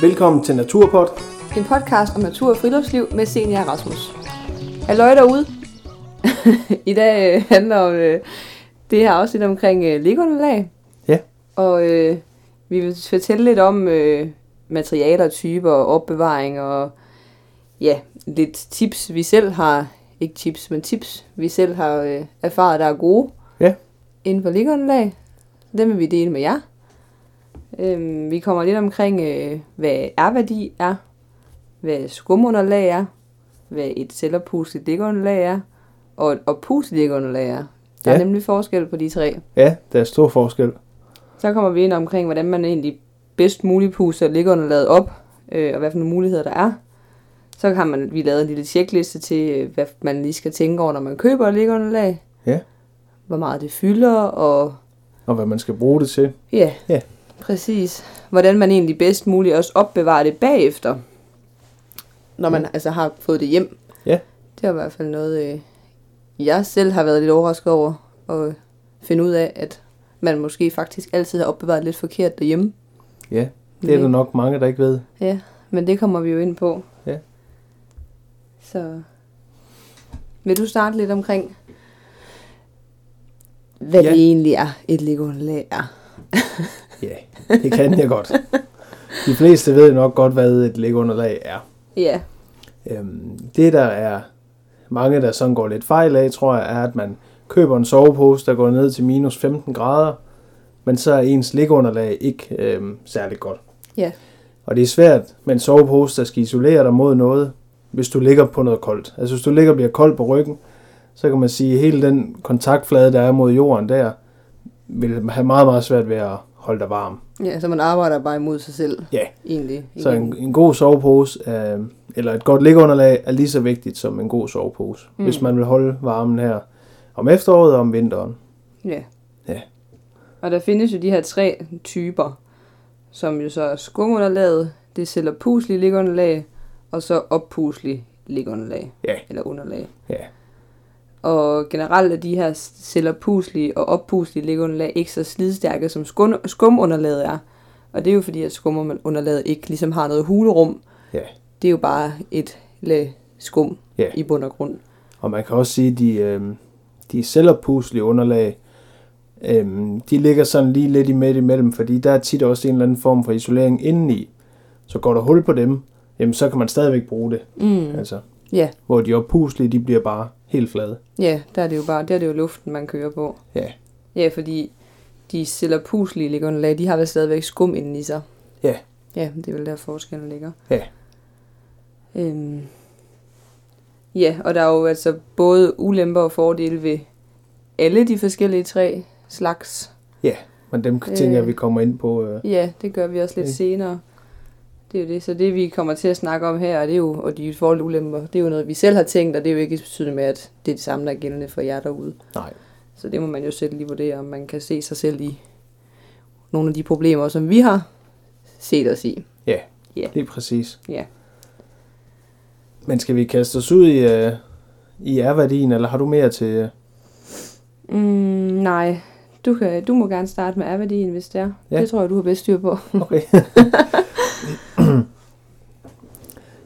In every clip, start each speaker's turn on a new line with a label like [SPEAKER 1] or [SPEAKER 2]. [SPEAKER 1] Velkommen til Naturpod.
[SPEAKER 2] En podcast om natur og friluftsliv med Senior Rasmus. Halløj derude. I dag øh, handler om øh, det her afsnit omkring øh, legounderlag.
[SPEAKER 1] Ja.
[SPEAKER 2] Og øh, vi vil fortælle lidt om øh, materialer, typer, opbevaring og ja, lidt tips, vi selv har, ikke tips, men tips, vi selv har øh, erfaret, der er gode
[SPEAKER 1] Ja.
[SPEAKER 2] inden for legounderlag. Dem vil vi dele med jer. Øhm, vi kommer lidt omkring, øh, hvad R-værdi er, hvad skumunderlag er, hvad et selvopustet liggeunderlag er, og et oppustet liggeunderlag er. Der ja.
[SPEAKER 1] Ja.
[SPEAKER 2] er nemlig forskel på de tre.
[SPEAKER 1] Ja, der er stor forskel.
[SPEAKER 2] Så kommer vi ind omkring, hvordan man egentlig bedst muligt puster liggeunderlaget op, øh, og hvad for nogle muligheder der er. Så har man, vi lavet en lille tjekliste til, øh, hvad man lige skal tænke over, når man køber et liggeunderlag.
[SPEAKER 1] Ja.
[SPEAKER 2] Hvor meget det fylder, og
[SPEAKER 1] Og hvad man skal bruge det til.
[SPEAKER 2] Ja,
[SPEAKER 1] Ja.
[SPEAKER 2] præcis. Hvordan man egentlig bedst muligt også opbevarer det bagefter, når man altså har fået det hjem.
[SPEAKER 1] Ja.
[SPEAKER 2] Det er i hvert fald noget, øh, jeg selv har været lidt overrasket over at finde ud af, at man måske faktisk altid har opbevaret lidt forkert derhjemme.
[SPEAKER 1] Ja, det er der nok mange, der ikke ved.
[SPEAKER 2] Ja, men det kommer vi jo ind på.
[SPEAKER 1] Ja.
[SPEAKER 2] Så vil du starte lidt omkring, hvad
[SPEAKER 1] Ja.
[SPEAKER 2] det egentlig er, et legounderlag er?
[SPEAKER 1] Ja, det kan jeg godt. De fleste ved nok godt, hvad et lægunderlag er.
[SPEAKER 2] Ja,
[SPEAKER 1] Øhm, det, der er mange, der sådan går lidt fejl af, tror jeg, er, at man køber en sovepose, der går ned til minus 15 grader, men så er ens liggeunderlag ikke øhm, særlig godt.
[SPEAKER 2] Ja.
[SPEAKER 1] Og det er svært med en sovepose, der skal isolere dig mod noget, hvis du ligger på noget koldt. Altså hvis du ligger og bliver kold på ryggen, så kan man sige, at hele den kontaktflade, der er mod jorden der, vil have meget, meget svært ved at holde dig varm.
[SPEAKER 2] ja så man arbejder bare imod sig selv.
[SPEAKER 1] Ja,
[SPEAKER 2] egentlig.
[SPEAKER 1] så
[SPEAKER 2] igen.
[SPEAKER 1] en, en god sovepose, øh, eller et godt liggeunderlag, er lige så vigtigt som en god sovepose, mm. hvis man vil holde varmen her om efteråret og om vinteren.
[SPEAKER 2] Ja.
[SPEAKER 1] Ja.
[SPEAKER 2] Og der findes jo de her tre typer, som jo så er skumunderlaget, det sælger puslig liggeunderlag, og så oppuslig liggeunderlag,
[SPEAKER 1] Ja.
[SPEAKER 2] eller underlag.
[SPEAKER 1] Ja.
[SPEAKER 2] Og generelt er de her sælger puslige og oppuslige liggeunderlag ikke så slidstærke, som skun- skumunderlaget er. Og det er jo fordi, at skumunderlaget ikke ligesom har noget hulerum.
[SPEAKER 1] Ja.
[SPEAKER 2] Det er jo bare et lag skum
[SPEAKER 1] Ja.
[SPEAKER 2] i bund og grund.
[SPEAKER 1] Og man kan også sige, at de, øh, de selvopuslige underlag, øh, de ligger sådan lige lidt i midt imellem, fordi der er tit også en eller anden form for isolering indeni. Så går der hul på dem, jamen så kan man stadigvæk bruge det.
[SPEAKER 2] Mm.
[SPEAKER 1] Altså,
[SPEAKER 2] Ja,
[SPEAKER 1] hvor de oppuslige, de bliver bare helt flade.
[SPEAKER 2] ja, der er det jo bare, der er det jo luften, man kører på.
[SPEAKER 1] Ja.
[SPEAKER 2] Ja, fordi de sælger puslige liggeunderlag, de har vel stadigvæk skum inden i sig.
[SPEAKER 1] Ja.
[SPEAKER 2] Ja, det er vel der forskellen ligger.
[SPEAKER 1] Ja.
[SPEAKER 2] Øhm. Ja, og der er jo altså både ulemper og fordele ved alle de forskellige tre slags.
[SPEAKER 1] Men dem tænker jeg, vi kommer ind på. Øh,
[SPEAKER 2] Ja, det gør vi også lidt
[SPEAKER 1] Okay.
[SPEAKER 2] senere. Det er jo det. Så det, vi kommer til at snakke om her, det er jo, og de fordele og ulemper, det er jo noget, vi selv har tænkt, og det er jo ikke betydende med, at det er det samme, der er gældende for jer derude.
[SPEAKER 1] nej.
[SPEAKER 2] Så det må man jo selv lige vurdere, om man kan se sig selv i nogle af de problemer, som vi har set os i.
[SPEAKER 1] Lige præcis.
[SPEAKER 2] Ja.
[SPEAKER 1] Men skal vi kaste os ud i, øh, i R-værdien, eller har du mere til... Øh?
[SPEAKER 2] Mm, nej, du, kan, du må gerne starte med R-værdien, hvis det er.
[SPEAKER 1] Ja.
[SPEAKER 2] Det tror jeg, du har bedst styr på.
[SPEAKER 1] Okay.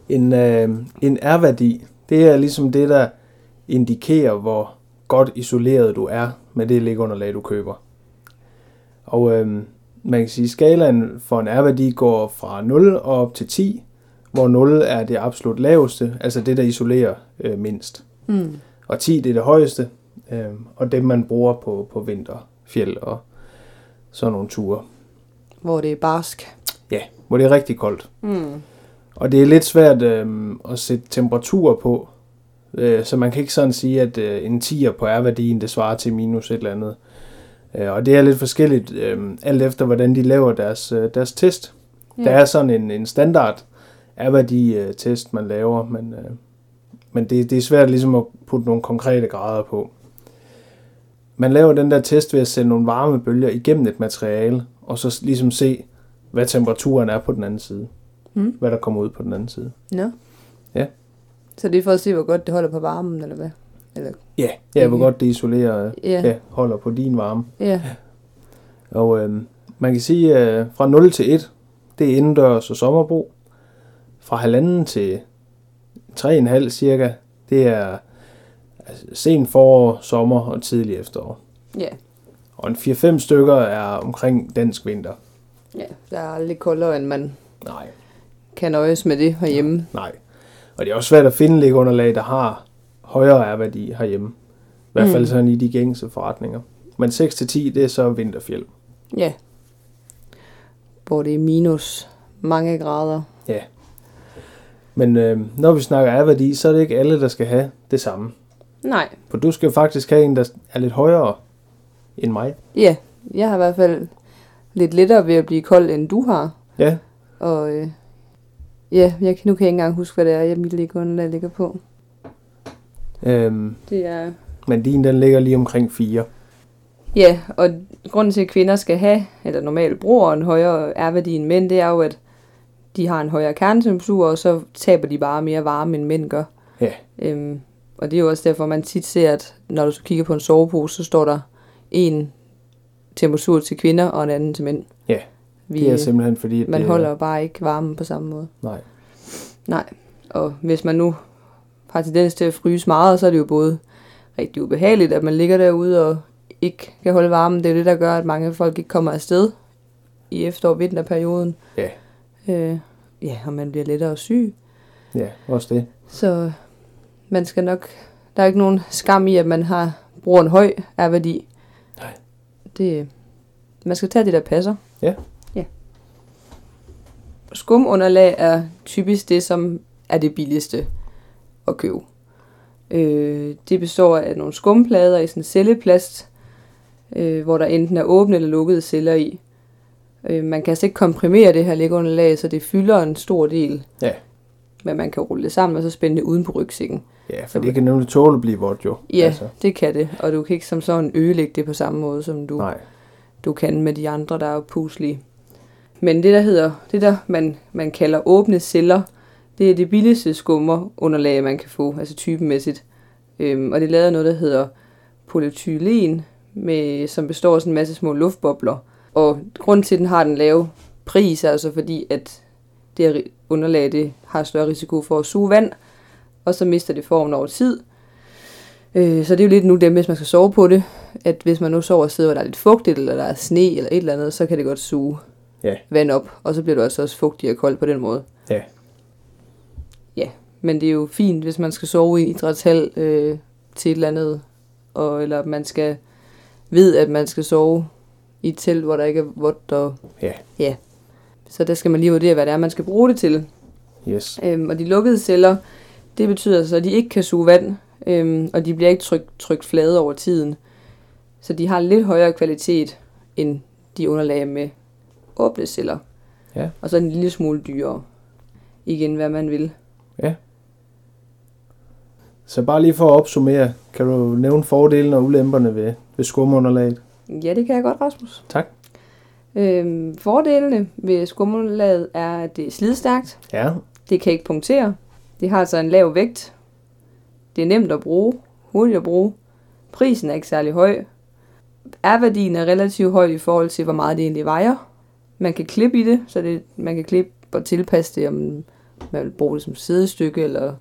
[SPEAKER 1] en øh, en R-værdi, det er ligesom det, der indikerer, hvor godt isoleret du er med det lægunderlag, du køber. Og øh, man kan sige, at skalaen for en R-værdi går fra 0 og op til 10, hvor 0 er det absolut laveste, altså det, der isolerer øh, mindst.
[SPEAKER 2] Mm.
[SPEAKER 1] Og 10 det er det højeste, øh, og dem man bruger på, på vinterfjeld og sådan nogle ture,
[SPEAKER 2] Hvor det er barsk.
[SPEAKER 1] hvor det er rigtig koldt.
[SPEAKER 2] Mm.
[SPEAKER 1] Og det er lidt svært øh, at sætte temperaturer på, øh, så man kan ikke sådan sige, at øh, en 10'er på R-værdien, det svarer til minus et eller andet. Øh, og det er lidt forskelligt, øh, alt efter hvordan de laver deres, øh, deres test.
[SPEAKER 2] Ja.
[SPEAKER 1] Der er sådan en, en standard R-værdi-test, øh, man laver, men, øh, men det, det er svært ligesom at putte nogle konkrete grader på. Man laver den der test ved at sende nogle varme bølger igennem et materiale, og så s- ligesom se, hvad temperaturen er på den anden side.
[SPEAKER 2] Mm.
[SPEAKER 1] Hvad der kommer ud på den anden side.
[SPEAKER 2] Nå.
[SPEAKER 1] Ja.
[SPEAKER 2] Så det er for at se, hvor godt det holder på varmen, eller hvad? Eller,
[SPEAKER 1] Ja, ja hvor
[SPEAKER 2] Mhm.
[SPEAKER 1] godt det isolerer, øh,
[SPEAKER 2] ja, ja.
[SPEAKER 1] ja, holder på din varme.
[SPEAKER 2] ja.
[SPEAKER 1] øhm, Og øh, man kan sige, øh, fra 0 til 1, det er indendørs og sommerbrug. Fra halvanden til 3,5 cirka, det er altså, sen forår, sommer og tidlig efterår.
[SPEAKER 2] Ja,
[SPEAKER 1] Og en 4-5 stykker er omkring dansk vinter.
[SPEAKER 2] ja. Der er lidt koldere, end man
[SPEAKER 1] Nej,
[SPEAKER 2] kan nøjes med det herhjemme.
[SPEAKER 1] nej. Og det er også svært at finde lægunderlag, der har højere R-værdi herhjemme. I hvert fald
[SPEAKER 2] Mm.
[SPEAKER 1] sådan i de gængse forretninger. Men 6-10, det er så vinterfjeld.
[SPEAKER 2] Ja. Hvor det er minus mange grader.
[SPEAKER 1] Men øh, når vi snakker R-værdi, så er det ikke alle, der skal have det samme.
[SPEAKER 2] Nej.
[SPEAKER 1] For du skal jo faktisk have en, der er lidt højere end mig.
[SPEAKER 2] Ja, jeg har i hvert fald lidt lettere ved at blive kold, end du har.
[SPEAKER 1] Ja,
[SPEAKER 2] Og øh, ja, jeg, kan- nu kan jeg ikke engang huske, hvad det er, jeg mit liggeunderlag ligger på.
[SPEAKER 1] øhm,
[SPEAKER 2] Det er...
[SPEAKER 1] men din den ligger lige omkring 4.
[SPEAKER 2] Ja, og grunden til, at kvinder skal have, eller normalt bruger en højere R-værdi end mænd, det er jo, at de har en højere kernetemperatur, og så taber de bare mere varme, end mænd gør.
[SPEAKER 1] Ja.
[SPEAKER 2] Øhm, og det er jo også derfor, man tit ser, at når du så kigger på en sovepose, så står der en temperatur til kvinder og en anden til mænd.
[SPEAKER 1] Ja,
[SPEAKER 2] Vi,
[SPEAKER 1] Det er simpelthen fordi... at
[SPEAKER 2] man
[SPEAKER 1] det, er-
[SPEAKER 2] holder bare ikke varmen på samme måde.
[SPEAKER 1] Nej.
[SPEAKER 2] Nej, og hvis man nu har tendens til at fryse meget, så er det jo både rigtig ubehageligt, at man ligger derude og ikke kan holde varmen. Det er jo det, der gør, at mange folk ikke kommer afsted i efterår- og vinterperioden.
[SPEAKER 1] Ja.
[SPEAKER 2] Øh, ja, og man bliver lettere syg.
[SPEAKER 1] Ja, også det.
[SPEAKER 2] Så man skal nok... Der er ikke nogen skam i, at man har bruger en høj R-værdi.
[SPEAKER 1] Nej.
[SPEAKER 2] Det, man skal tage det, der passer.
[SPEAKER 1] Ja.
[SPEAKER 2] ja. Skumunderlag er typisk det, som er det billigste at købe. Øh, det består af nogle skumplader i sådan celleplast, øh, hvor der enten er åbne eller lukkede celler i. Øh, man kan altså ikke komprimere det her lægunderlag, så det fylder en stor del.
[SPEAKER 1] Ja.
[SPEAKER 2] Men man kan rulle det sammen og så spænde det uden på rygsækken.
[SPEAKER 1] Ja, for
[SPEAKER 2] Så-
[SPEAKER 1] det kan nemlig tåle at blive vådt jo.
[SPEAKER 2] Ja, altså. det kan det. Og du kan ikke som sådan ødelægge det på samme måde, som du,
[SPEAKER 1] Nej.
[SPEAKER 2] du kan med de andre, der er puslige. Men det, der hedder, det der man, man kalder åbne celler, det er det billigste skummerunderlag, man kan få, altså typemæssigt. Øhm, og det er lavet af noget, der hedder polyethylen, med, som består af sådan en masse små luftbobler. Og grund til, at den har den lave pris, er altså fordi, at det her ri- underlag det har større risiko for at suge vand, og så mister det formen over tid. Øh, så det er jo lidt nu dem, hvis man skal sove på det, at hvis man nu sover et sted, hvor der er lidt fugtigt, eller der er sne, eller et eller andet, så kan det godt suge
[SPEAKER 1] Ja.
[SPEAKER 2] vand op, og så bliver du altså også fugtig og kold på den måde.
[SPEAKER 1] Ja.
[SPEAKER 2] Ja, men det er jo fint, hvis man skal sove i idrætshal øh, til et eller andet, og, eller man skal vide, at man skal sove i et telt, hvor der ikke er vådt. Og,
[SPEAKER 1] Ja.
[SPEAKER 2] ja. Så der skal man lige vurdere, hvad det er, man skal bruge det til.
[SPEAKER 1] Yes.
[SPEAKER 2] Øhm, og de lukkede celler, det betyder så, at de ikke kan suge vand, øhm, og de bliver ikke trykt, trykt flade over tiden. Så de har en lidt højere kvalitet end de underlag med åbne celler.
[SPEAKER 1] Ja.
[SPEAKER 2] Og så en lille smule dyrere. Igen, hvad man vil.
[SPEAKER 1] Så bare lige for at opsummere, kan du nævne fordelene og ulemperne ved, ved skumunderlaget?
[SPEAKER 2] Ja, det kan jeg godt, Rasmus.
[SPEAKER 1] Tak.
[SPEAKER 2] Øhm, fordelene ved skummerlaget er, at det er slidstærkt,
[SPEAKER 1] Ja,
[SPEAKER 2] Det kan ikke punktere. Det har altså en lav vægt. Det er nemt at bruge. Hurtigt at bruge. Prisen er ikke særlig høj. R-værdien er relativt høj i forhold til, hvor meget det egentlig vejer. Man kan klippe i det, så det, man kan klippe og tilpasse det, om man vil bruge det som sidestykke, eller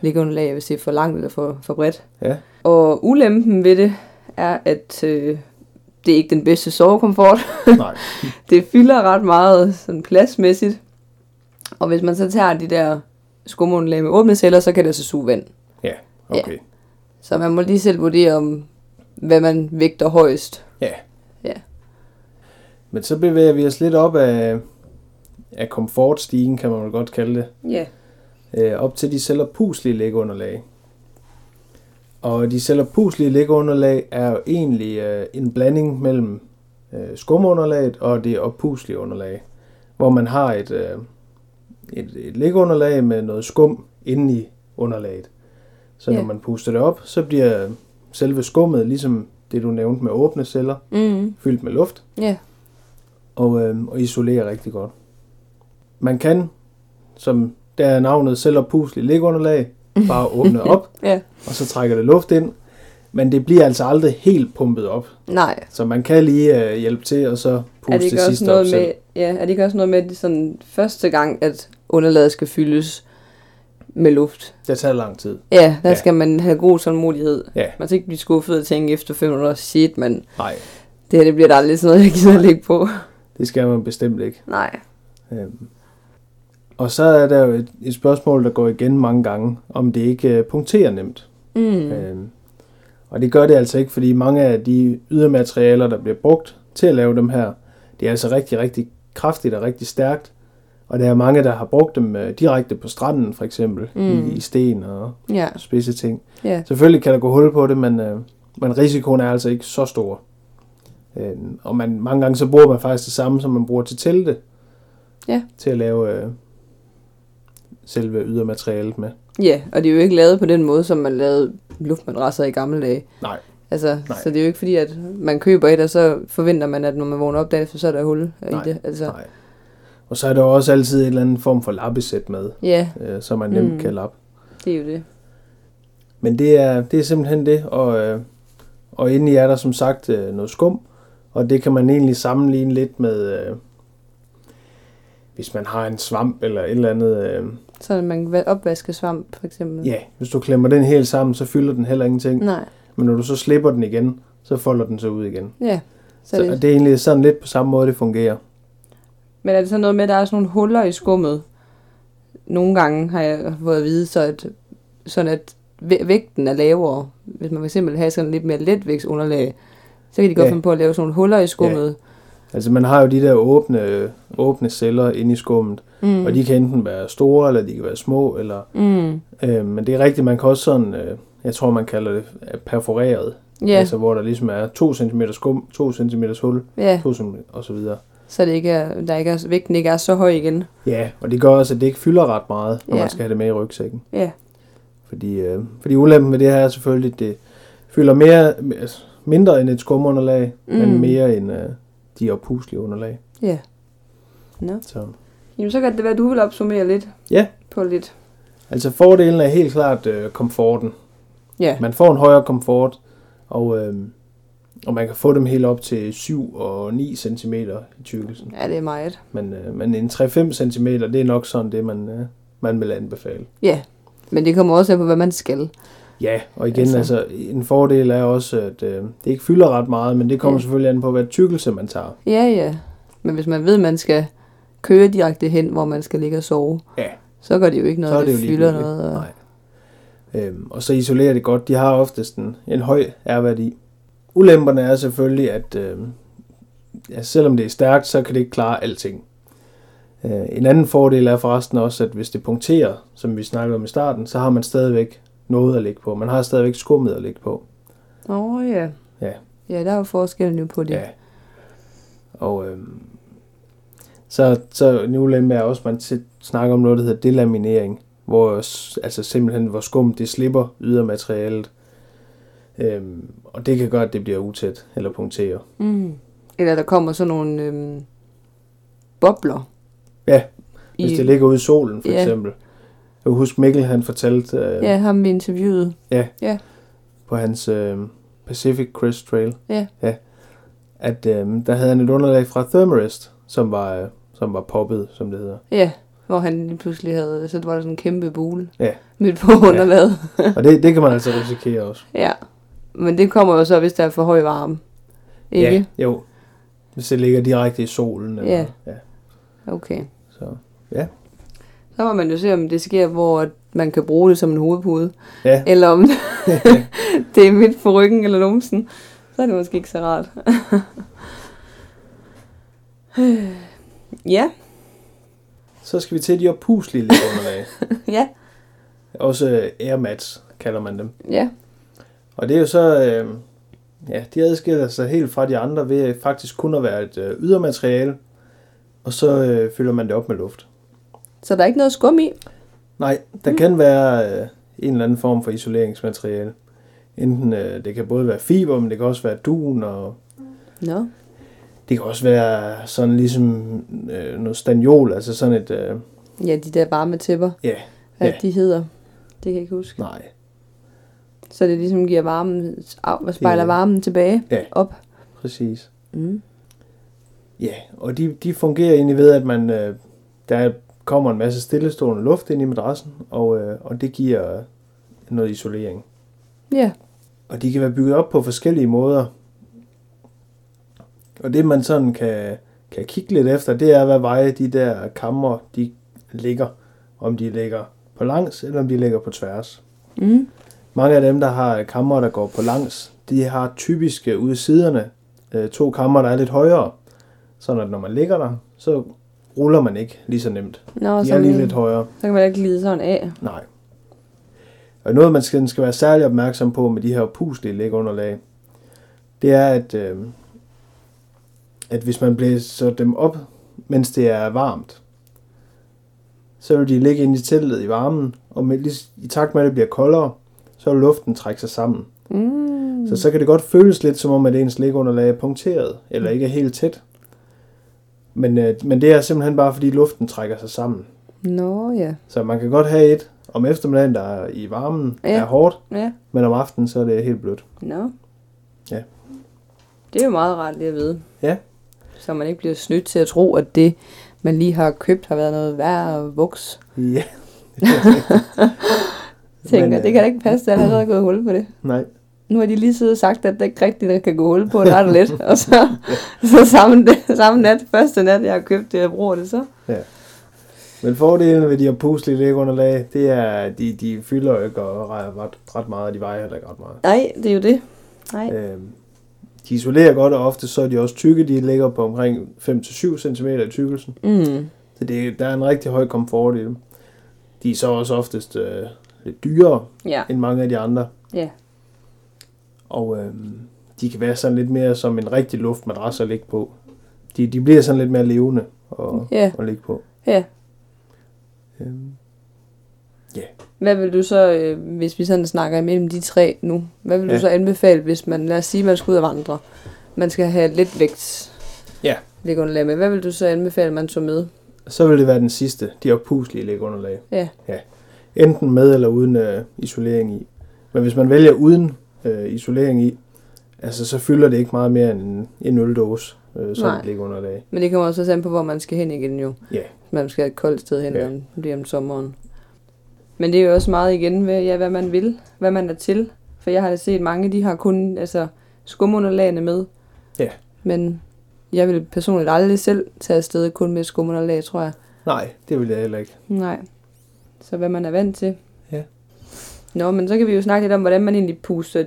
[SPEAKER 2] ligge under lag, hvis det er for langt eller for, for bredt.
[SPEAKER 1] Ja.
[SPEAKER 2] Og ulempen ved det er, at øh, det er ikke den bedste sovekomfort
[SPEAKER 1] nej.
[SPEAKER 2] det fylder ret meget sådan pladsmæssigt. Og hvis man så tager de der skumunderlag med åbne celler, så kan det så suge vand.
[SPEAKER 1] Okay.
[SPEAKER 2] Så man må lige selv vurdere, om hvad man vægter højst.
[SPEAKER 1] Men så bevæger vi os lidt op af, af komfortstigen, kan man vel godt kalde det,
[SPEAKER 2] Ja.
[SPEAKER 1] øh, op til de selverpuslige lægunderlag. Og de selverpuslige lægunderlag er jo egentlig øh, en blanding mellem øh, skumunderlaget og det oppuslige underlag, hvor man har et, øh, et, et lægunderlag med noget skum inde i underlaget. Så
[SPEAKER 2] Ja.
[SPEAKER 1] når man puster det op, så bliver selve skummet, ligesom det du nævnte med åbne celler,
[SPEAKER 2] Mm.
[SPEAKER 1] fyldt med luft,
[SPEAKER 2] Ja.
[SPEAKER 1] og, øh, og isolerer rigtig godt. Man kan, som der er navnet selv oppuslig liggeunderlag, bare åbne op,
[SPEAKER 2] Ja.
[SPEAKER 1] og så trækker det luft ind. Men det bliver altså aldrig helt pumpet op,
[SPEAKER 2] Nej.
[SPEAKER 1] så man kan lige øh, hjælpe til, og så puste
[SPEAKER 2] er det ikke også
[SPEAKER 1] sidste op
[SPEAKER 2] noget
[SPEAKER 1] selv.
[SPEAKER 2] med, Ja, er det ikke også noget med, at det sådan første gang, at underlaget skal fyldes med luft?
[SPEAKER 1] Det tager lang tid.
[SPEAKER 2] Ja, der
[SPEAKER 1] Ja.
[SPEAKER 2] ja. skal man have god tålmodighed.
[SPEAKER 1] Ja.
[SPEAKER 2] Man skal ikke blive skuffet og tænke efter 500 år, shit, men
[SPEAKER 1] Nej,
[SPEAKER 2] det her det bliver der aldrig sådan noget, jeg gider at ligge på.
[SPEAKER 1] det skal man bestemt ikke.
[SPEAKER 2] Nej.
[SPEAKER 1] Øhm. Og så er der jo et, et spørgsmål, der går igen mange gange, om det ikke øh, punkterer nemt.
[SPEAKER 2] Mm. Øh.
[SPEAKER 1] Øhm. Og det gør det altså ikke, fordi mange af de ydermaterialer, der bliver brugt til at lave dem her, det er altså rigtig, rigtig kraftigt og rigtig stærkt. Og der er mange, der har brugt dem øh, direkte på stranden, for eksempel, mm.
[SPEAKER 2] Mm.
[SPEAKER 1] i, i sten og
[SPEAKER 2] Ja,
[SPEAKER 1] spidse ting.
[SPEAKER 2] ja.
[SPEAKER 1] Selvfølgelig kan der gå hul på det, men, øh, men risikoen er altså ikke så stor. Øh, og man, mange gange så bruger man faktisk det samme, som man bruger til telte.
[SPEAKER 2] Ja.
[SPEAKER 1] Til at lave øh, selve ydermaterialet med.
[SPEAKER 2] Ja, og det er jo ikke lavet på den måde, som man lavede luftmadrasser i gamle dage.
[SPEAKER 1] Nej.
[SPEAKER 2] Altså,
[SPEAKER 1] Nej.
[SPEAKER 2] så det er jo ikke fordi, at man køber et, og så forventer man, at når man vågner op dagen efter, så er der hul
[SPEAKER 1] Nej.
[SPEAKER 2] i det. Altså,
[SPEAKER 1] Nej. Og så er der jo også altid en eller anden form for lappesæt med,
[SPEAKER 2] ja,
[SPEAKER 1] øh, som man nemt
[SPEAKER 2] Mm.
[SPEAKER 1] mm. kan lappe.
[SPEAKER 2] det er jo det.
[SPEAKER 1] Men det er, det er simpelthen det, og, øh, og indeni er der som sagt øh, noget skum, og det kan man egentlig sammenligne lidt med, øh, hvis man har en svamp eller et eller andet... Øh,
[SPEAKER 2] Så at man kan opvaske svamp, for eksempel.
[SPEAKER 1] Ja, hvis du klemmer den helt sammen, så fylder den heller ingenting. Mm.
[SPEAKER 2] Nej,
[SPEAKER 1] Men når du så slipper den igen, så folder den sig ud igen.
[SPEAKER 2] ja.
[SPEAKER 1] Så det... det er egentlig sådan lidt på samme måde, det fungerer.
[SPEAKER 2] Men er det sådan noget med, at der er sådan nogle huller i skummet? Nogle gange har jeg fået at vide, så at, sådan at væ- vægten er lavere. Hvis man fx har sådan lidt mere letvægtsunderlag, så kan de godt
[SPEAKER 1] Ja.
[SPEAKER 2] finde på at lave sådan nogle huller i skummet.
[SPEAKER 1] Altså man har jo de der åbne, åbne celler inde i skummet,
[SPEAKER 2] Mm.
[SPEAKER 1] mm. og de kan enten være store, eller de kan være små. Eller,
[SPEAKER 2] Mm.
[SPEAKER 1] øh, men det er rigtigt, man kan også sådan, øh, jeg tror man kalder det øh, perforeret.
[SPEAKER 2] Ja,
[SPEAKER 1] Altså hvor der ligesom er 2 cm skum, 2 cm hul,
[SPEAKER 2] ja.
[SPEAKER 1] 2 cm og så videre.
[SPEAKER 2] Så det ikke er, der ikke er, vægten ikke er så høj igen.
[SPEAKER 1] Ja, og det gør også, at det ikke fylder ret meget, når
[SPEAKER 2] Ja.
[SPEAKER 1] man skal have det med i rygsækken.
[SPEAKER 2] Ja.
[SPEAKER 1] Fordi, øh, fordi ulempen ved det her er selvfølgelig, at det fylder mere, altså, mindre end et skumunderlag, mm. men mere end øh, de opuslige underlag.
[SPEAKER 2] Ja. Nå.
[SPEAKER 1] Så,
[SPEAKER 2] Jamen, så kan det være, at du vil opsummere lidt.
[SPEAKER 1] Ja.
[SPEAKER 2] På lidt.
[SPEAKER 1] altså fordelen er helt klart øh, komforten.
[SPEAKER 2] Ja.
[SPEAKER 1] Man får en højere komfort, og, øh, og man kan få dem helt op til 7 og 9 cm i tykkelsen.
[SPEAKER 2] Ja, det er meget.
[SPEAKER 1] Men, øh, men en 3-5 cm, det er nok sådan det, man, øh, man vil anbefale.
[SPEAKER 2] Ja. Men det kommer også an på, hvad man skal.
[SPEAKER 1] Ja, og igen,
[SPEAKER 2] Altså.
[SPEAKER 1] altså, altså en fordel er også, at øh, det ikke fylder ret meget, men det kommer
[SPEAKER 2] Ja.
[SPEAKER 1] ja. selvfølgelig an på, hvad tykkelse man tager.
[SPEAKER 2] Ja, ja. Men hvis man ved, at man skal køre direkte hen, hvor man skal ligge og sove,
[SPEAKER 1] Ja.
[SPEAKER 2] så gør det jo ikke noget,
[SPEAKER 1] Så er
[SPEAKER 2] at
[SPEAKER 1] det
[SPEAKER 2] det,
[SPEAKER 1] jo
[SPEAKER 2] fylder
[SPEAKER 1] ligegyldigt.
[SPEAKER 2] noget. Og...
[SPEAKER 1] Nej. Øhm, og så isolerer det godt. De har oftest en, en høj R-værdi. Ulemperne er selvfølgelig, at øh, ja, selvom det er stærkt, så kan det ikke klare alting. Øh, en anden fordel er forresten også, at hvis det punkterer, som vi snakkede om i starten, så har man stadigvæk noget at ligge på. Man har stadigvæk skummet at ligge på.
[SPEAKER 2] Åh, oh, ja.
[SPEAKER 1] Ja.
[SPEAKER 2] Ja, der er jo forskellen jo på det.
[SPEAKER 1] Ja. Og øh, så, så en ulempe er også, at man tit snakker om noget, der hedder delaminering, hvor s- altså simpelthen hvor skum det slipper ydermaterialet. Øhm, og det kan gøre, at det bliver utæt eller punkterer.
[SPEAKER 2] Mm. Eller der kommer sådan nogle øhm, bobler.
[SPEAKER 1] Ja,
[SPEAKER 2] i...
[SPEAKER 1] Hvis det ligger ude i solen, for
[SPEAKER 2] Ja.
[SPEAKER 1] ja. eksempel. Jeg husker Mikkel, han fortalte øh, ja.
[SPEAKER 2] Ja, ham vi interviewede.
[SPEAKER 1] på hans øh, Pacific Crest Trail,
[SPEAKER 2] Ja.
[SPEAKER 1] Ja, at øh, der havde han et underlag fra Thermarest, som var, øh, som var poppet, som det hedder.
[SPEAKER 2] Ja, hvor han lige pludselig havde, så var der sådan en kæmpe bule
[SPEAKER 1] Ja.
[SPEAKER 2] midt på underlaget.
[SPEAKER 1] Og det, det kan man altså risikere også.
[SPEAKER 2] Ja. ja. Men det kommer jo så, hvis der er for høj varme. Ikke?
[SPEAKER 1] Ja, jo. Hvis det ligger direkte i solen. Eller,
[SPEAKER 2] Ja.
[SPEAKER 1] ja.
[SPEAKER 2] Okay.
[SPEAKER 1] Så.
[SPEAKER 2] Så må man jo se, om det sker, hvor at man kan bruge det som en hovedpude.
[SPEAKER 1] Ja.
[SPEAKER 2] Eller om det er midt på ryggen eller numsen. Så er det måske ikke så rart. ja,
[SPEAKER 1] Så skal vi til de opuslige lidt underlag.
[SPEAKER 2] ja,
[SPEAKER 1] Også øh, air mats kalder man dem.
[SPEAKER 2] ja.
[SPEAKER 1] Og det er jo så... Øh, ja, de adskiller sig helt fra de andre ved øh, faktisk kun at være et øh, ydermateriale. Og så øh, fylder man det op med luft.
[SPEAKER 2] Så der er ikke noget skum i?
[SPEAKER 1] Nej, der mm. kan være øh, en eller anden form for isoleringsmateriale. Enten øh, det kan både være fiber, men det kan også være dun og
[SPEAKER 2] Nå. No.
[SPEAKER 1] det kan også være sådan ligesom øh, noget stagnol, altså sådan et, øh,
[SPEAKER 2] Ja, de der varme tæpper.
[SPEAKER 1] Ja,
[SPEAKER 2] Hvad
[SPEAKER 1] ja.
[SPEAKER 2] de hedder. Det kan jeg ikke huske.
[SPEAKER 1] nej,
[SPEAKER 2] Så det ligesom giver varmen, af, spejler
[SPEAKER 1] Det-
[SPEAKER 2] varmen tilbage
[SPEAKER 1] Ja.
[SPEAKER 2] op.
[SPEAKER 1] Præcis.
[SPEAKER 2] Mm.
[SPEAKER 1] Ja, og de, de fungerer egentlig ved, at man øh, der kommer en masse stillestående luft ind i madrassen, og, øh, og det giver øh, noget isolering.
[SPEAKER 2] Ja,
[SPEAKER 1] Og de kan være bygget op på forskellige måder. Og det man sådan kan, kan kigge lidt efter, det er, hvad veje de der kammer, de ligger. Om de ligger på langs, eller om de ligger på tværs.
[SPEAKER 2] mm.
[SPEAKER 1] Mange af dem, der har kammer, der går på langs, de har typisk øh, ude i siderne øh, to kammer, der er lidt højere. Sådan at når man ligger der, så ruller man ikke lige så nemt.
[SPEAKER 2] Nå,
[SPEAKER 1] De
[SPEAKER 2] så,
[SPEAKER 1] er lige
[SPEAKER 2] man-
[SPEAKER 1] lidt højere.
[SPEAKER 2] så kan man ikke glide sådan af.
[SPEAKER 1] Nej. Og noget, man skal, skal være særlig opmærksom på med de her pustelige lægunderlag, det er, at, øh, at hvis man blæser dem op, mens det er varmt, så vil de ligge inde i teltet i varmen, og med, lige, i takt med, at det bliver koldere, så vil luften trække sig sammen.
[SPEAKER 2] Mm.
[SPEAKER 1] Så så kan det godt føles lidt som om, at ens lægunderlag er punkteret, eller ikke er helt tæt. Men, øh, men det er simpelthen bare, fordi luften trækker sig sammen.
[SPEAKER 2] Nå ja.
[SPEAKER 1] Så man kan godt have et om eftermiddagen, der er i varmen, ja.
[SPEAKER 2] Ja.
[SPEAKER 1] er hårdt,
[SPEAKER 2] ja.
[SPEAKER 1] men om aftenen, så er det helt blødt.
[SPEAKER 2] Nå.
[SPEAKER 1] Ja.
[SPEAKER 2] Det er jo meget rart lige at vide.
[SPEAKER 1] Ja.
[SPEAKER 2] Så man ikke bliver snydt til at tro, at det, man lige har købt, har været noget værre voks.
[SPEAKER 1] Ja.
[SPEAKER 2] Tænker,
[SPEAKER 1] Men,
[SPEAKER 2] men,
[SPEAKER 1] øh,
[SPEAKER 2] det kan da ikke passe, der har allerede gået hul på det.
[SPEAKER 1] Nej,
[SPEAKER 2] Nu har de lige siddet og sagt, at det ikke rigtigt der kan gå hul på det ret lidt. Og så, så samme, dag- samme nat, første nat, jeg har købt det, jeg bruger det så.
[SPEAKER 1] men fordelen ved de her puslige lægunderlag, det er, at de, de fylder jo ikke og rejer ret, ret meget, og de vejer heller ikke ret meget.
[SPEAKER 2] Nej, det er jo det. Nej.
[SPEAKER 1] Øhm, de isolerer godt, og ofte så er de også tykke. De ligger på omkring 5-7 cm i tykkelsen.
[SPEAKER 2] Mm.
[SPEAKER 1] Så det, der er en rigtig høj komfort i dem. De er så også oftest øh, lidt dyrere
[SPEAKER 2] Ja.
[SPEAKER 1] end mange af de andre.
[SPEAKER 2] ja.
[SPEAKER 1] Og øh, de kan være sådan lidt mere som en rigtig luftmadras at ligge på. De, de bliver sådan lidt mere levende at,
[SPEAKER 2] Ja.
[SPEAKER 1] at ligge på.
[SPEAKER 2] Ja.
[SPEAKER 1] Øh,
[SPEAKER 2] Hvad vil du så, øh, hvis vi sådan snakker imellem de tre nu, hvad vil ja.
[SPEAKER 1] Ja.
[SPEAKER 2] du så anbefale, hvis man, lad os sige, man skal ud og vandre, man skal have lidt vægt,
[SPEAKER 1] Ja.
[SPEAKER 2] lægunderlag med, hvad vil du så anbefale, man tog med?
[SPEAKER 1] så vil det være den sidste, de opuslige lægunderlag.
[SPEAKER 2] Ja.
[SPEAKER 1] ja. Enten med eller uden øh, isolering i. Men hvis man vælger uden øh, isolering i, altså så fylder det ikke meget mere end en, en øldåse, øh, sådan
[SPEAKER 2] Nej.
[SPEAKER 1] et lægunderlag.
[SPEAKER 2] Men det kommer også også an på, hvor man skal hen igen jo.
[SPEAKER 1] Ja.
[SPEAKER 2] Hvis Man skal et koldt sted hen
[SPEAKER 1] Ja.
[SPEAKER 2] ja. om, lige om sommeren. Men det er jo også meget igen med, ja, hvad man vil, hvad man er til. For jeg har da set mange, de har kun altså, skumunderlagene med.
[SPEAKER 1] Ja.
[SPEAKER 2] Men jeg vil personligt aldrig selv tage afsted kun med skumunderlag, tror jeg.
[SPEAKER 1] Nej, det vil jeg heller ikke.
[SPEAKER 2] Nej. Så hvad man er vant til.
[SPEAKER 1] Ja.
[SPEAKER 2] Nå, men så kan vi jo snakke lidt om, hvordan man egentlig puster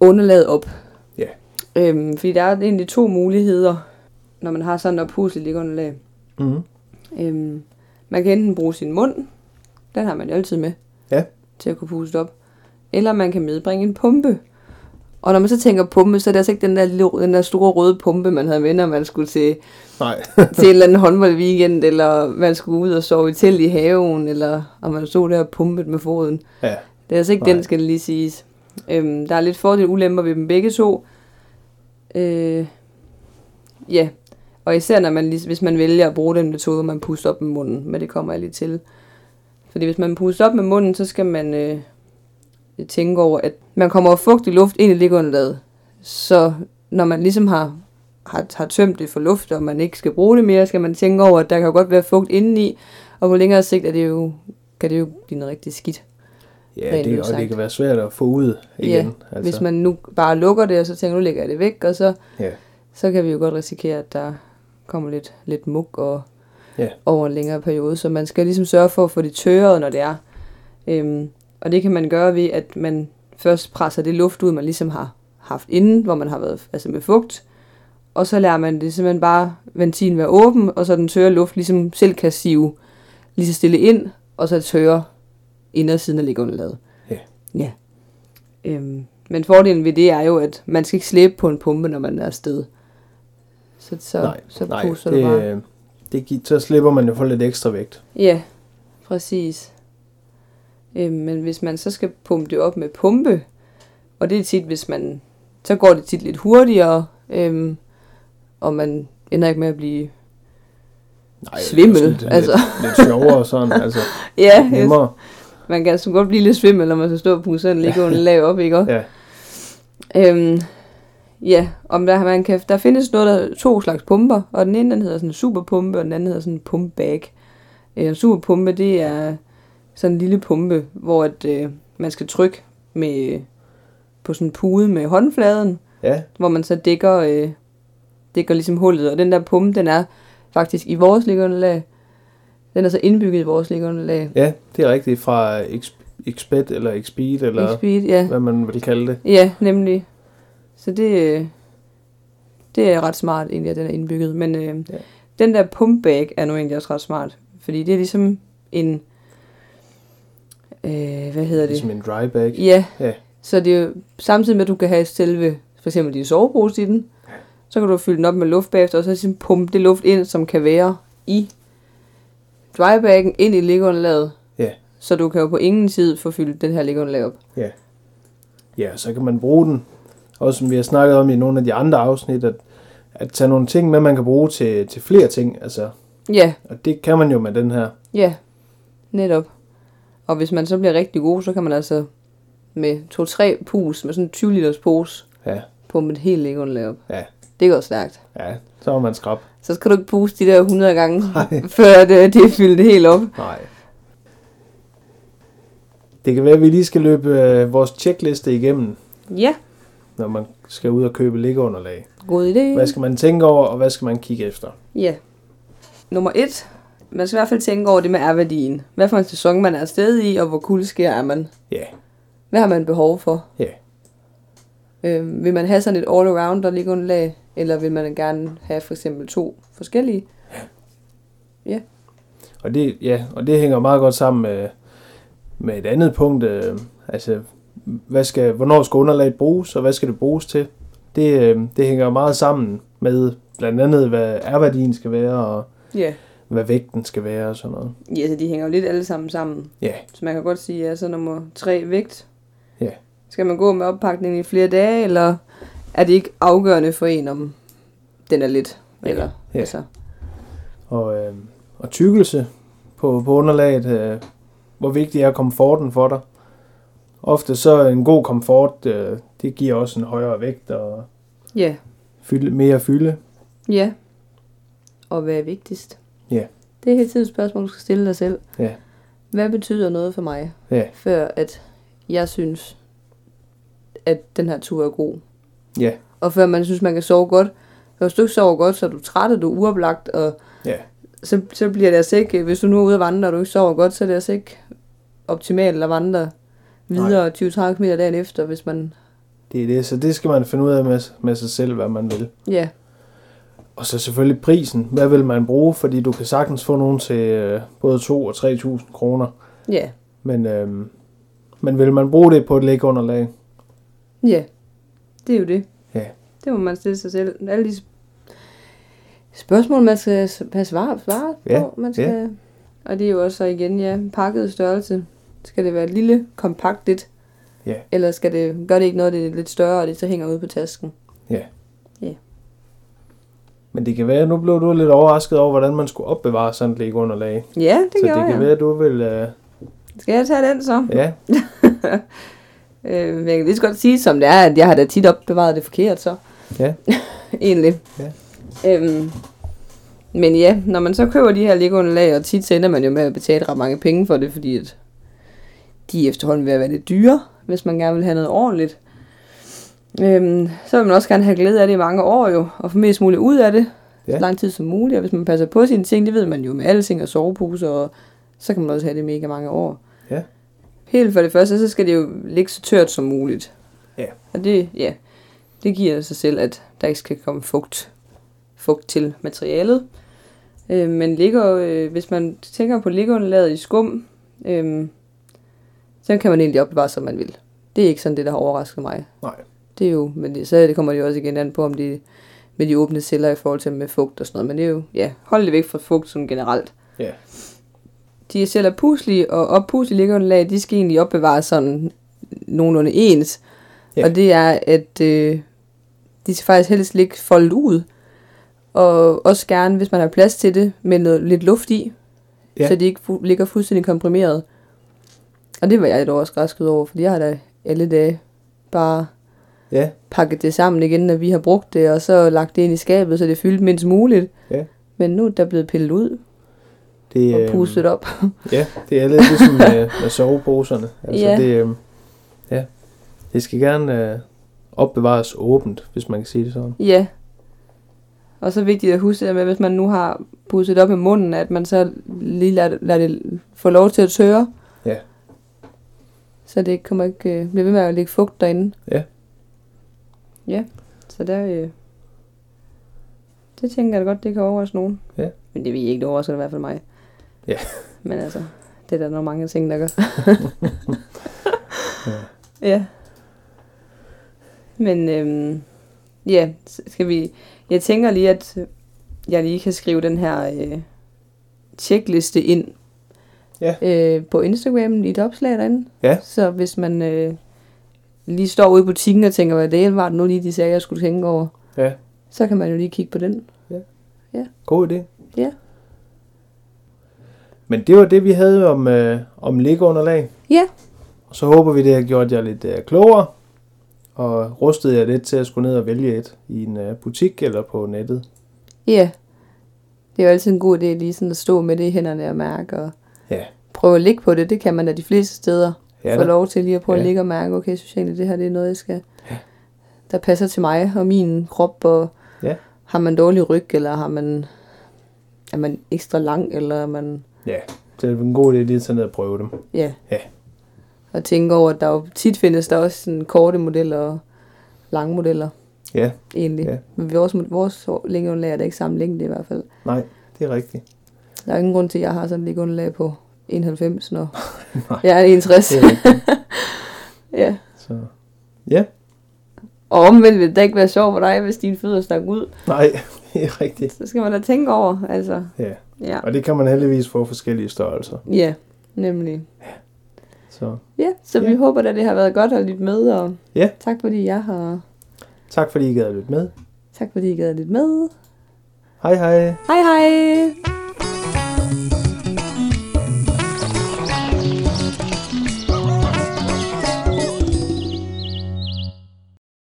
[SPEAKER 2] underlaget op.
[SPEAKER 1] Ja.
[SPEAKER 2] Øhm, fordi der er egentlig to muligheder, når man har sådan et oppusteligt liggeunderlag.
[SPEAKER 1] Mm-hmm.
[SPEAKER 2] Øhm, man kan enten bruge sin mund, den har man jo altid med,
[SPEAKER 1] Ja.
[SPEAKER 2] til at kunne puste op. Eller man kan medbringe en pumpe. Og når man så tænker pumpe, så er det altså ikke den der, lille, den der store røde pumpe, man havde med, når man skulle til
[SPEAKER 1] Nej,
[SPEAKER 2] til en eller anden håndboldweekend, eller man skulle ud og sove i telt i haven, eller om man stod der og pumpede med foden.
[SPEAKER 1] ja.
[SPEAKER 2] Det er altså ikke
[SPEAKER 1] Nej.
[SPEAKER 2] Nej. den, skal det lige siges. Øhm, der er lidt fordele og ulemper ved dem begge to. Øh, ja, og især når man, lige- hvis man vælger at bruge den metode, hvor man puster op med munden, men det kommer jeg lige til. Fordi hvis man puster op med munden, så skal man øh, tænke over, at man kommer fugtig luft ind i liggeunderlaget. Så når man ligesom har, har, har tømt det for luft, og man ikke skal bruge det mere, skal man tænke over, at der kan jo godt være fugt indeni, og på længere sigt er det jo, kan det jo blive noget rigtig skidt.
[SPEAKER 1] Ja,
[SPEAKER 2] Rent
[SPEAKER 1] det, og
[SPEAKER 2] udsagt.
[SPEAKER 1] det kan være svært at få ud igen.
[SPEAKER 2] Ja, Altså. Hvis man nu bare lukker det, og så tænker, nu lægger jeg det væk, og så,
[SPEAKER 1] Ja.
[SPEAKER 2] så kan vi jo godt risikere, at der kommer lidt, lidt muk og,
[SPEAKER 1] Ja.
[SPEAKER 2] over en længere periode. Så man skal ligesom sørge for at få det tørret, når det er. Øhm, og det kan man gøre ved, at man først presser det luft ud, man ligesom har haft inden, hvor man har været altså med fugt. Og så lader man det simpelthen bare ventilen være åben, og så den tørre luft ligesom selv kan sive lige så stille ind, og så tørre indersiden af liggeunderlaget.
[SPEAKER 1] Ja.
[SPEAKER 2] ja. Øhm, men fordelen ved det er jo, at man skal ikke slæbe på en pumpe, når man er afsted. Så, så, så puster
[SPEAKER 1] det,
[SPEAKER 2] du bare.
[SPEAKER 1] øh, det, gi- så slipper man jo for lidt ekstra vægt.
[SPEAKER 2] Ja, præcis. Øh, men hvis man så skal pumpe det op med pumpe, og det er tit, hvis man, så går det tit lidt hurtigere, øh, og man ender ikke med at blive...
[SPEAKER 1] Nej,
[SPEAKER 2] Svimmel,
[SPEAKER 1] det er sådan
[SPEAKER 2] altså.
[SPEAKER 1] Lidt, lidt sjovere og sådan, altså
[SPEAKER 2] Ja, yes.
[SPEAKER 1] nemmere.
[SPEAKER 2] man kan altså godt blive lidt svimmel, når man så står og puster en ligge under lav op, ikke?
[SPEAKER 1] Ja,
[SPEAKER 2] Øhm, Ja, om der, man kan, der findes noget, der er to slags pumper, og den ene den hedder sådan en superpumpe, og den anden hedder sådan en pump bag. Øh, en superpumpe, det er sådan en lille pumpe, hvor at, øh, man skal trykke med, på sådan en pude med håndfladen,
[SPEAKER 1] Ja,
[SPEAKER 2] hvor man så dækker, øh, dækker ligesom hullet. Og den der pumpe, den er faktisk i vores liggeunderlag. Den er så indbygget i vores liggeunderlag.
[SPEAKER 1] ja det er rigtigt fra Exp- Exped eller Expeed, eller Exped.
[SPEAKER 2] Speed, ja.
[SPEAKER 1] hvad man vil kalde det.
[SPEAKER 2] Ja, nemlig. Så det, øh, det er ret smart egentlig, at den er indbygget. Men øh,
[SPEAKER 1] Ja.
[SPEAKER 2] ja. den der pumpbag er nu egentlig også ret smart. Fordi det er ligesom en... Øh, hvad hedder det?
[SPEAKER 1] Ligesom en dry bag.
[SPEAKER 2] Ja.
[SPEAKER 1] Ja.
[SPEAKER 2] ja. Så det er jo, samtidig med, at du kan have selve, for eksempel din sovepose i den, så kan du fylde den op med luft bagefter, og så ligesom pumpe det luft ind, som kan være i drybaggen, ind i liggeunderlaget.
[SPEAKER 1] Ja.
[SPEAKER 2] Så du kan jo på ingen tid få fyldt den her liggeunderlag op.
[SPEAKER 1] Ja, så kan man bruge den. Også som vi har snakket om i nogle af de andre afsnit, at, at tage nogle ting med, man kan bruge til, til flere ting. Altså,
[SPEAKER 2] Ja,
[SPEAKER 1] og det kan man jo med den her.
[SPEAKER 2] ja, netop. Og hvis man så bliver rigtig god, så kan man altså med 2-3 pus, med sådan en 20 liters pose,
[SPEAKER 1] Ja,
[SPEAKER 2] pumpe et helt liggeunderlag op.
[SPEAKER 1] Ja.
[SPEAKER 2] Det går stærkt.
[SPEAKER 1] ja så er man skrab.
[SPEAKER 2] Så skal du ikke puste de der 100 gange,
[SPEAKER 1] Nej.
[SPEAKER 2] før det, det er fyldt helt op.
[SPEAKER 1] Nej. Det kan være, at vi lige skal løbe øh, vores checkliste igennem,
[SPEAKER 2] Ja,
[SPEAKER 1] når man skal ud og købe liggeunderlag.
[SPEAKER 2] god idé.
[SPEAKER 1] Hvad skal man tænke over, og hvad skal man kigge efter?
[SPEAKER 2] Ja. Nummer et. Man skal i hvert fald tænke over det med R-værdien. Hvad for en sæson man er afsted i, og hvor kul sker er man.
[SPEAKER 1] Ja,
[SPEAKER 2] Hvad har man behov for?
[SPEAKER 1] ja,
[SPEAKER 2] Øh, vil man have sådan et all-around, der ligger under lag, eller vil man gerne have for eksempel to forskellige?
[SPEAKER 1] og det, ja, og det hænger meget godt sammen med, med et andet punkt. Øh, altså, hvad skal, hvornår skal underlaget bruges, og hvad skal det bruges til? Det, øh, det hænger meget sammen med blandt andet, hvad R-værdien skal være, og
[SPEAKER 2] Ja.
[SPEAKER 1] hvad vægten skal være og sådan noget.
[SPEAKER 2] Ja, så de hænger jo lidt alle sammen sammen.
[SPEAKER 1] Ja,
[SPEAKER 2] Så man kan godt sige, ja, så nummer tre vægt.
[SPEAKER 1] Ja.
[SPEAKER 2] Skal man gå med oppakningen i flere dage, eller er det ikke afgørende for en, om den er lidt? Eller,
[SPEAKER 1] Ja.
[SPEAKER 2] Altså,
[SPEAKER 1] og, øh, og tykkelse på, på underlaget. Øh, hvor vigtig er komforten for dig? Ofte så en god komfort, øh, det giver også en højere vægt og
[SPEAKER 2] ja.
[SPEAKER 1] fylde, mere fylde.
[SPEAKER 2] Ja. Og hvad er vigtigst?
[SPEAKER 1] Ja.
[SPEAKER 2] Det er hele tiden et spørgsmål, du skal stille dig selv.
[SPEAKER 1] Ja.
[SPEAKER 2] Hvad betyder noget for mig,
[SPEAKER 1] Ja,
[SPEAKER 2] før at jeg synes, at den her tur er god?
[SPEAKER 1] ja,
[SPEAKER 2] Og før man synes, man kan sove godt. For hvis du ikke sover godt, så er du træt, og du er uoplagt, og
[SPEAKER 1] ja,
[SPEAKER 2] så, så bliver det altså ikke, hvis du nu er ude at vandre, og du ikke sover godt, så er det altså ikke optimalt at vandre videre 20-30 km dagen efter, hvis man...
[SPEAKER 1] det er det. Så det skal man finde ud af med, med sig selv, hvad man vil.
[SPEAKER 2] Ja,
[SPEAKER 1] Og så selvfølgelig prisen. Hvad vil man bruge? Fordi du kan sagtens få nogen til øh, både 2.000 og 3.000 kroner.
[SPEAKER 2] ja,
[SPEAKER 1] Men, øh, men vil man bruge det på et lægunderlag?
[SPEAKER 2] Ja, det er jo det.
[SPEAKER 1] Ja.
[SPEAKER 2] Det må man stille sig selv. Alle de spørgsmål, man skal s- have svar, svar
[SPEAKER 1] Ja,
[SPEAKER 2] på. Man skal... Og det er jo også så igen, ja, pakket størrelse. Skal det være lille, kompakt lidt?
[SPEAKER 1] Ja.
[SPEAKER 2] Eller skal det, gør det ikke noget, det er lidt større, og det så hænger ude på tasken?
[SPEAKER 1] Men det kan være, at nu blev du lidt overrasket over, hvordan man skulle opbevare sådan et lægunderlag.
[SPEAKER 2] Ja, det
[SPEAKER 1] så
[SPEAKER 2] gør
[SPEAKER 1] det
[SPEAKER 2] jeg.
[SPEAKER 1] kan være, at du vil... Øh,
[SPEAKER 2] Skal jeg tage den så?
[SPEAKER 1] ja,
[SPEAKER 2] Øh, men jeg kan lige så godt sige, som det er, at jeg har da tit opbevaret det forkert, så.
[SPEAKER 1] Ja.
[SPEAKER 2] Egentlig.
[SPEAKER 1] Ja.
[SPEAKER 2] Øhm, men ja, når man så køber de her Lego-underlag, og tit så ender man jo med at betale ret mange penge for det, fordi at de er efterhånden ved at være lidt dyre, hvis man gerne vil have noget ordentligt. Øhm, så vil man også gerne have glæde af det i mange år jo, og få mest muligt ud af det,
[SPEAKER 1] Ja.
[SPEAKER 2] så lang tid som muligt. Og hvis man passer på sine ting, det ved man jo med alle ting og soveposer, og så kan man også have det i mega mange år.
[SPEAKER 1] Ja.
[SPEAKER 2] Helt for det første, så skal det jo ligge så tørt som muligt.
[SPEAKER 1] Ja.
[SPEAKER 2] Og det, ja, det giver sig selv, at der ikke skal komme fugt, fugt til materialet. Øh, men ligger, øh, hvis man tænker på liggeunderlaget i skum, øh, så kan man egentlig opbevare, som man vil. Det er ikke sådan det, der har overrasket mig.
[SPEAKER 1] nej.
[SPEAKER 2] Det er jo, men det, så det kommer det jo også igen an på, om det med de åbne celler i forhold til med fugt og sådan noget. Men det er jo, ja, hold det væk fra fugt sådan generelt.
[SPEAKER 1] Ja.
[SPEAKER 2] De celler er puslige, og oppuslige liggeunderlag, de skal egentlig opbevares sådan nogenlunde ens.
[SPEAKER 1] Ja.
[SPEAKER 2] Ja. Og det er, at øh, de skal faktisk helst ligge foldet ud. Og også gerne, hvis man har plads til det, med noget, lidt luft i.
[SPEAKER 1] Ja.
[SPEAKER 2] Ja. Så de ikke fu- ligger fuldstændig komprimeret. Og det var jeg lidt overrasket over, fordi jeg har da alle dage bare
[SPEAKER 1] Ja,
[SPEAKER 2] pakket det sammen igen, når vi har brugt det, og så lagt det ind i skabet, så det er fyldt mindst muligt.
[SPEAKER 1] Ja.
[SPEAKER 2] Men nu er der blevet pillet ud
[SPEAKER 1] det, øhm,
[SPEAKER 2] og pustet op.
[SPEAKER 1] Ja, det er lidt ligesom med, med soveposerne. Altså,
[SPEAKER 2] Ja.
[SPEAKER 1] ja. Det, øhm, ja. det skal gerne øh, opbevares åbent, hvis man kan sige det sådan.
[SPEAKER 2] Ja. Og så vigtigt at huske det med, hvis man nu har pusset op i munden, at man så lige lader, lader det få lov til at tørre.
[SPEAKER 1] Ja.
[SPEAKER 2] Så det kommer ikke, øh, bliver ved med at lægge fugt derinde.
[SPEAKER 1] Ja.
[SPEAKER 2] Ja, så der, øh, det tænker jeg da godt, det kan overraske nogen.
[SPEAKER 1] Ja.
[SPEAKER 2] Men det vil I ikke, det overrasker i hvert fald mig.
[SPEAKER 1] Ja.
[SPEAKER 2] Men altså, det er der nok mange ting, der gør. ja. ja. Men øhm, ja, s- skal vi... Jeg tænker lige, at jeg lige kan skrive den her øh, checkliste ind
[SPEAKER 1] Ja.
[SPEAKER 2] øh, på Instagram i et opslag derinde.
[SPEAKER 1] Ja.
[SPEAKER 2] Så hvis man øh, lige står ude i butikken og tænker, hvad det var det nu lige, de sagde, jeg skulle tænke over,
[SPEAKER 1] Ja,
[SPEAKER 2] så kan man jo lige kigge på den.
[SPEAKER 1] god idé.
[SPEAKER 2] Ja.
[SPEAKER 1] Men det var det, vi havde om, øh, om liggeunderlag.
[SPEAKER 2] Ja.
[SPEAKER 1] Og så håber vi, det har gjort jer lidt øh, klogere, og rustet jer lidt til at skulle ned og vælge et i en øh, butik eller på nettet.
[SPEAKER 2] Ja. Det er jo altid en god idé lige sådan at stå med det i hænderne og mærke, og
[SPEAKER 1] Ja.
[SPEAKER 2] prøve at ligge på det. Det kan man da de fleste steder.
[SPEAKER 1] Ja,
[SPEAKER 2] få
[SPEAKER 1] da.
[SPEAKER 2] lov til lige at prøve ja. at
[SPEAKER 1] Ja.
[SPEAKER 2] ligge og mærke, okay, synes jeg egentlig, det her det er noget, jeg skal, ja. der passer til mig og min krop, og
[SPEAKER 1] Ja.
[SPEAKER 2] har man dårlig ryg, eller har man, er man ekstra lang, eller er man,
[SPEAKER 1] ja. Så det er en god idé lige at tage ned og prøve dem.
[SPEAKER 2] ja.
[SPEAKER 1] Ja.
[SPEAKER 2] Og tænke over, at der jo tit findes der også sådan korte modeller og lange modeller,
[SPEAKER 1] Ja,
[SPEAKER 2] egentlig.
[SPEAKER 1] Ja.
[SPEAKER 2] Men vores, vores lægeunderlag er da ikke samme længde i hvert fald.
[SPEAKER 1] nej, det er rigtigt.
[SPEAKER 2] Der er ingen grund til, at jeg har sådan et lægeunderlag på 91, når
[SPEAKER 1] Nej.
[SPEAKER 2] jeg er 61.
[SPEAKER 1] Det er rigtigt.
[SPEAKER 2] ja.
[SPEAKER 1] Så. Ja,
[SPEAKER 2] Og omvendt vil det da ikke være sjovt for dig, hvis dine fødder stak ud.
[SPEAKER 1] nej, det er rigtigt.
[SPEAKER 2] Så skal man da tænke over, altså.
[SPEAKER 1] Ja.
[SPEAKER 2] Ja,
[SPEAKER 1] Og det kan man heldigvis få forskellige størrelser.
[SPEAKER 2] ja nemlig.
[SPEAKER 1] Så
[SPEAKER 2] Ja, så ja.
[SPEAKER 1] Ja.
[SPEAKER 2] vi håber at det har været godt at lytte med, og
[SPEAKER 1] Ja.
[SPEAKER 2] tak fordi jeg har...
[SPEAKER 1] tak fordi I gad at lytte med.
[SPEAKER 2] Tak fordi I gad at lytte med.
[SPEAKER 1] Hej hej.
[SPEAKER 2] Hej hej!